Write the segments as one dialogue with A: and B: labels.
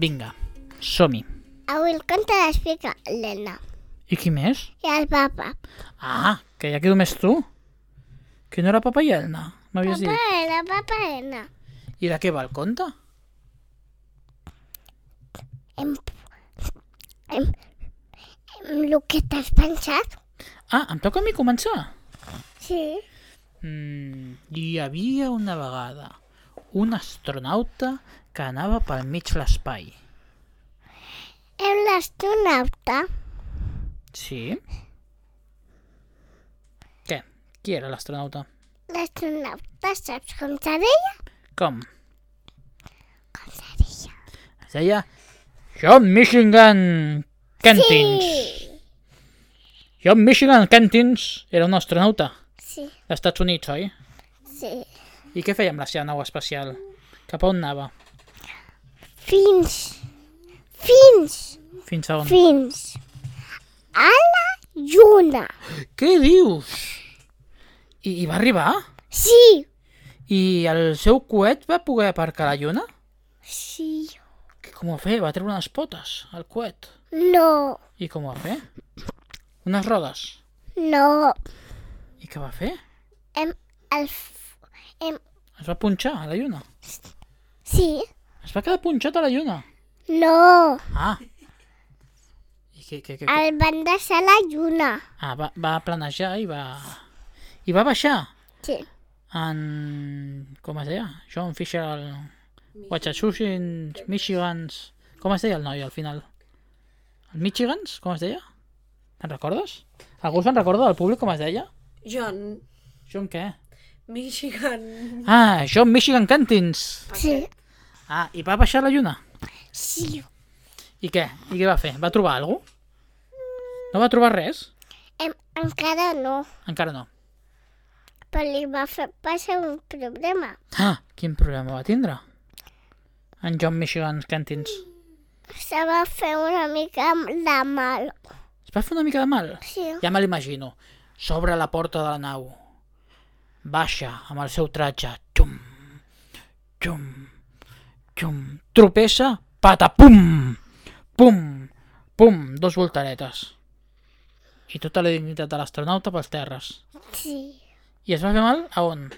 A: Vinga, som-hi.
B: Avui el conte l'explica l'Elena
A: I qui més?
B: i el papa.
A: Ah, que ja quedo més tu. Que no era papa i Elna, m'havies
B: Papa
A: dit.
B: Elena, papa Elena.
A: I de què va el conte?
B: Em... Em... Em... El que t'has pensat?
A: Ah, em toca a mi començar.
B: Sí.
A: Mm, hi havia una vegada un astronauta que anava pel mig l'espai.
B: Hem l'astronauta.
A: Sí? Què? Qui era l'astronauta?
B: L'astronauta saps com se deia?
A: Com?
B: Com se deia?
A: Es deia John Michigan Cantins. John Michigan Cantins era un astronauta
B: Sí,
A: d'Estats Units, oi?
B: sí.
A: I què feia amb la seva nau espacial? Cap a on anava?
B: Fins. Fins.
A: Fins a on?
B: Fins. A la lluna.
A: Què dius? I, I va arribar?
B: Sí.
A: I el seu coet va poder aparcar a la lluna?
B: Sí.
A: Que Com ho va fer? Va treure unes potes, el coet.
B: No.
A: I com ho va fer? Unes rodes.
B: No.
A: I què va fer?
B: Hem... El... f- Hem...
A: Es va punxar a la lluna.
B: Sí.
A: Es va quedar punxat a la lluna.
B: No.
A: Ah. I què, què, què, què?
B: El van deixar a la lluna.
A: Ah, va, va planejar i va... I va baixar
B: Sí.
A: en... Com es deia? John Fisher, el... Wachachusins, Michigans... Com es deia el noi al final? El Michigans? Com es deia? Te'n recordes? Algú se'n recorda del públic com es deia?
C: John,
A: John què?
C: Michigan.
A: Ah, John Michigan Cantins!
B: Sí.
A: Ah, i va baixar a la lluna.
B: Sí.
A: I què? I què va fer? Va trobar alguna No va trobar res?
B: Em... Encara no.
A: Encara no.
B: Però li va fer passar un problema.
A: Ah, quin problema va tindre? En John Michigan Cantins.
B: Se va fer una mica de mal.
A: Es va fer una mica de mal?
B: Sí.
A: Ja me l'imagino. S'obre la porta de la nau. Baixa amb el seu tratge. Xum, xum, xum. Tropessa, pata, pum, pum, pum. Dos voltaretes. I tota la dignitat de l'astronauta pels terres.
B: Sí.
A: I es va fer mal a on?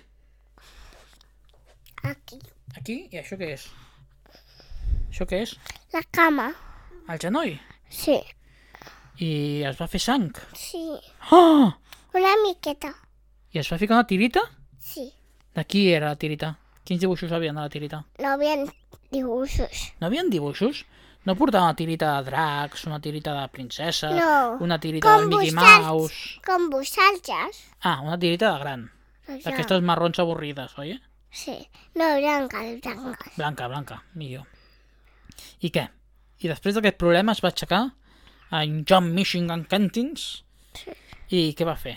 B: Aquí.
A: Aquí? I això què és? Això què és?
B: La cama.
A: El genoll.
B: Sí.
A: I es va fer sang.
B: Sí.
A: Oh!
B: Una miqueta.
A: I es va ficar una tirita?
B: Sí.
A: De qui era la tirita? Quins dibuixos havien a la tirita?
B: No havien dibuixos.
A: No havien dibuixos? No portava una tirita de dracs, una tirita de princesa,
B: No.
A: una tirita de
B: Com
A: Mickey
B: vosaltres.
A: Mouse...
B: Com vosaltres.
A: Ah, una tirita de gran.
B: Doncs no.
A: D'aquestes marrons avorrides, oi?
B: Sí. No, blanca, blanca.
A: Blanca, blanca, millor. I què? I després d'aquest problema es va aixecar en John Michigan Cantins i què va fer?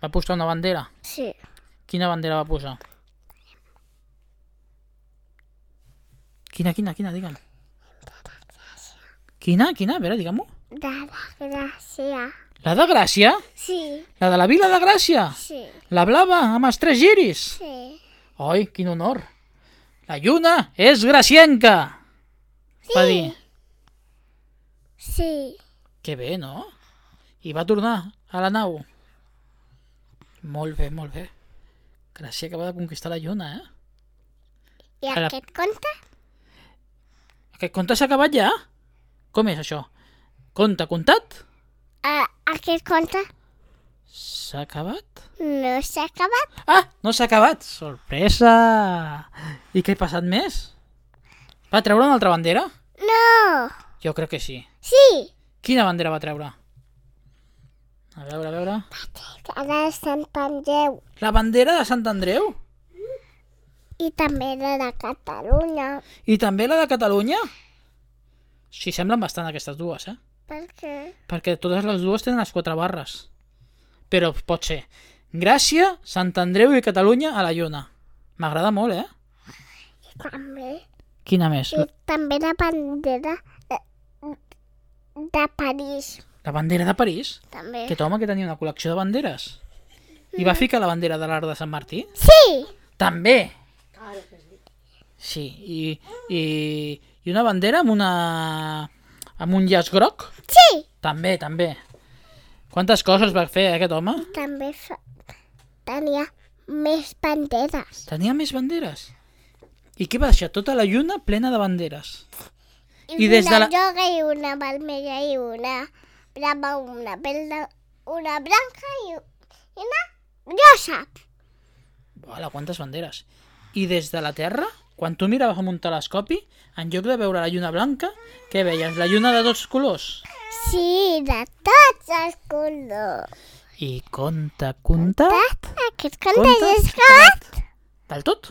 A: Va posar una bandera.
B: Sí.
A: Quina bandera va posar? Quina, quina, quina, digue'm. Quina, quina? A veure, digue'm-ho.
B: De la gràcia.
A: La de Gràcia?
B: Sí.
A: La de la Vila de Gràcia?
B: Sí.
A: La blava, amb els tres giris?
B: Sí.
A: Oi, quin honor. La lluna és gracienca! Va dir,
B: Sí.
A: que bé, no? I va tornar a la nau. Molt bé, molt bé. Gràcia acaba de conquistar la lluna, eh?
B: I
A: A la-
B: aquest conte?
A: Aquest conte s'ha acabat ja? Com és això? Conte contat?
B: Uh, aquest conte
A: S'ha acabat?
B: no s'ha acabat.
A: Ah, no s'ha acabat! Sorpresa! I què ha passat més? Va treure una altra bandera?
B: No!
A: Jo crec que sí.
B: oh. Sí!
A: Quina bandera va treure? A veure, a veure...
B: Ara de Sant Pandreu
A: La bandera de Sant Andreu?
B: i també la de Catalunya.
A: I també la de Catalunya? Sí, semblen bastant aquestes dues, eh?
B: Per què?
A: Perquè totes les dues tenen les quatre barres. Però pot ser Gràcia, Sant Andreu i Catalunya a la lluna. M'agrada molt, eh?
B: I també,
A: Quina més?
B: i també la bandera de, de París,
A: La bandera de París?
B: també.
A: Aquest home que tenia una col·lecció de banderes. I va ficar la bandera de l'art de Sant Martí?
B: Sí!
A: També!
C: Claro que sí.
A: Sí, i, i, i una bandera amb una... amb un llaç groc?
B: Sí!
A: També, també. Quantes coses va fer eh, aquest home?
B: També fa... tenia més banderes.
A: Tenia més banderes. I què va deixar? Tota la lluna plena de banderes. I des de
B: una
A: la-
B: lloga i una vermella i una brava, una verda, una blanca i, i una grossa.
A: Hola, quantes banderes. I des de la Terra, quan tu miraves amb un telescopi, en lloc de veure la lluna blanca, què veies? La lluna de dos colors.
B: Sí, de tots els colors.
A: I conta, conta...
B: Aquest contes
A: Contes?
B: és acabat?
A: Del tot?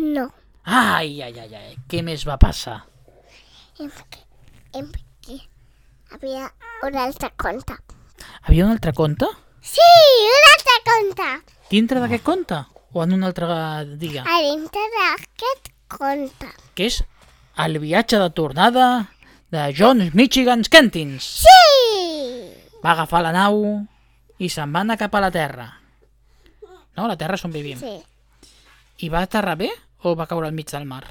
B: No.
A: Ai, ai, ai, ai, què més va passar?
B: Em que, em que havia un altre conte.
A: Havia un altre conte?
B: Sí, un altre conte.
A: Dintre d'aquest conte? O en un altre dia?
B: A dintre d'aquest conte.
A: Que és el viatge de tornada de Johns Michigan Kentins.
B: Sí!
A: Va agafar la nau i se'n va anar cap a la Terra. No, la Terra és on vivim.
B: Sí.
A: I va aterrar bé o va caure al mig del mar?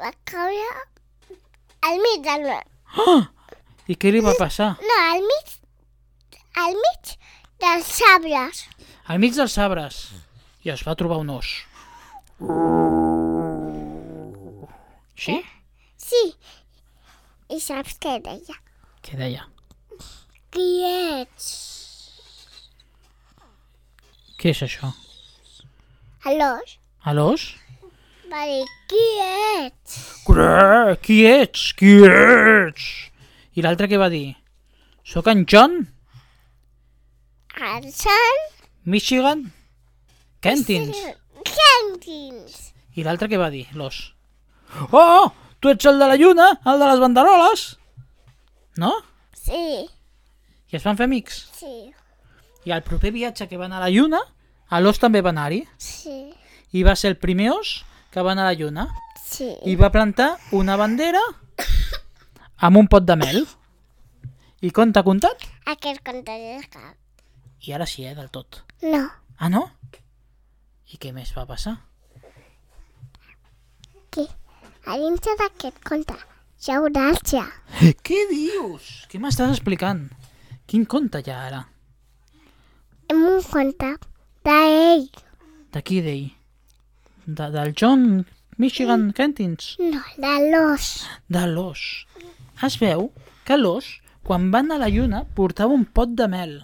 B: Va caure al mig del mar.
A: I què li va passar?
B: No, al mig, al mig dels sabres.
A: Al mig dels arbres. I es va trobar un os. Sí?
B: Sí. I saps què deia?
A: Què deia?
B: Qui ets?
A: Què és això?
B: Alòs
A: A l'os?
B: va dir, qui ets?
A: Crec, qui ets? Qui ets? I l'altre què va dir? Soc en John
B: El sant
A: Michigan Kentins.
B: Kentins.
A: I l'altre què va dir? L'os. Oh, tu ets el de la lluna, el de les banderoles. No?
B: Sí,
A: I es van fer amics.
B: sí,
A: I al proper viatge que van a la lluna, a l'os també va anar-hi.
B: sí,
A: I va ser el primer os que va anar a la lluna.
B: sí.
A: I va plantar una bandera amb un pot de mel. I conte contat.
B: Aquest conte és cap.
A: I ara sí, eh, del tot.
B: No.
A: Ah, no? I què més va passar?
B: Qui? A dintre d'aquest conte hi haurà el ja.
A: Què dius? Què m'estàs explicant? Quin conte ja ara?
B: En un conte d'ell.
A: De qui d'ell? De, del John Michigan Kentins?
B: No, de l'os.
A: De l'os. Es veu que l'os, quan va anar a la lluna, portava un pot de mel.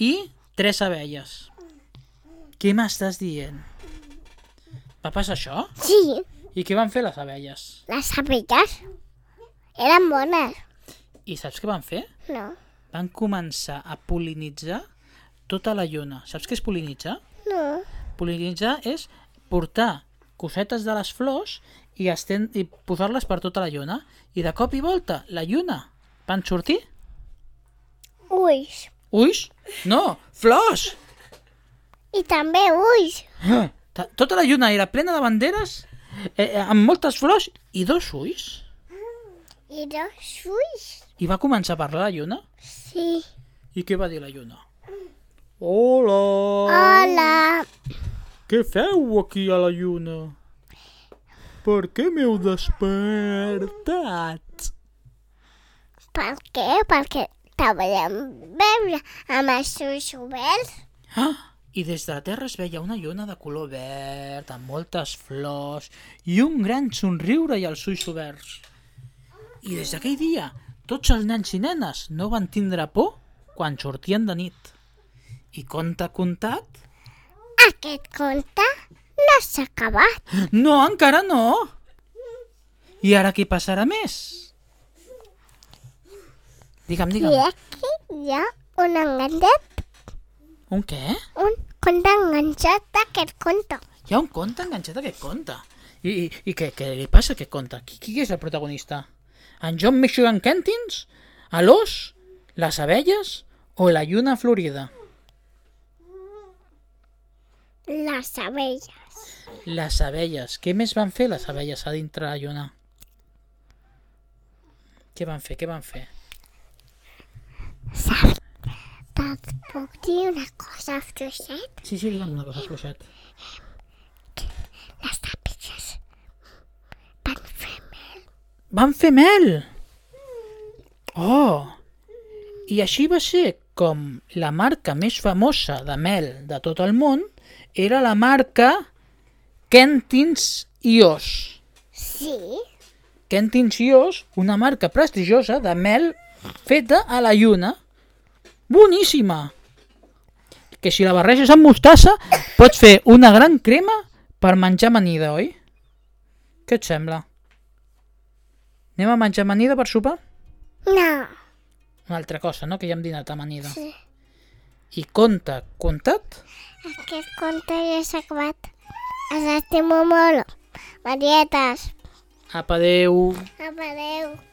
A: I tres abelles. Què m'estàs dient? Va passar això?
B: Sí,
A: I què van fer les abelles?
B: les abelles eren bones.
A: I saps què van fer?
B: No,
A: van començar a polinitzar tota la lluna. Saps què és polinitzar?
B: no.
A: Polinitzar és portar cosetes de les flors i, esten... i posar-les per tota la lluna. I de cop i volta, la lluna, van sortir?
B: Ulls.
A: Ulls? No, flors!
B: I també ulls.
A: Ta- Tota la lluna era plena de banderes, eh, eh, amb moltes flors i dos ulls.
B: I dos ulls.
A: I va començar a parlar la lluna.
B: Sí.
A: I què va dir la lluna? Hola!
B: Ah, Hola.
A: Què feu aquí a la lluna? Per què m'heu despertat?
B: Per què? Perquè te volem veure amb els ulls oberts.
A: Ah, I des de la terra es veia una lluna de color verd, amb moltes flors i un gran somriure i els ulls oberts. I des d'aquell dia, tots els nens i nenes no van tindre por quan sortien de nit. I conte contat?
B: Aquest conte no s'ha acabat.
A: No, encara no! I ara què passarà més? Digue'm,
B: I
A: digue'm.
B: aquí hi ha un enganxat,
A: Un què?
B: un conte enganxat d'aquest conte.
A: Hi ha un conte enganxat a aquest conte. I, i, i què, què li passa a aquest conte? Qui, qui és el protagonista? En John Michigan Kentins? A l'os? Les abelles? O la lluna florida?
B: Les abelles.
A: Les abelles. Què més van fer les abelles a dintre la lluna? Què van fer? Què van fer?
B: Saps? Pat, puc dir una cosa fluixet?
A: Sí, sí, digue'm una cosa, fluixet.
B: Les tàpiques van fer mel.
A: Van fer mel! Oh! I així va ser com la marca més famosa de mel de tot el món era la marca Kentins Ios.
B: Sí?
A: Kentins Ios, una marca prestigiosa de mel feta a la lluna. Boníssima! Que si la barreges amb mostassa pots fer una gran crema per menjar amanida, oi? Què et sembla? Anem a menjar amanida per sopar?
B: No.
A: Una altra cosa, no? Que ja hem dinat amanida.
B: Sí.
A: I conte, contat?
B: Aquest conte ja s'ha acabat. Els estimo molt. Marietes,
A: Apa, adeu.
B: apareu.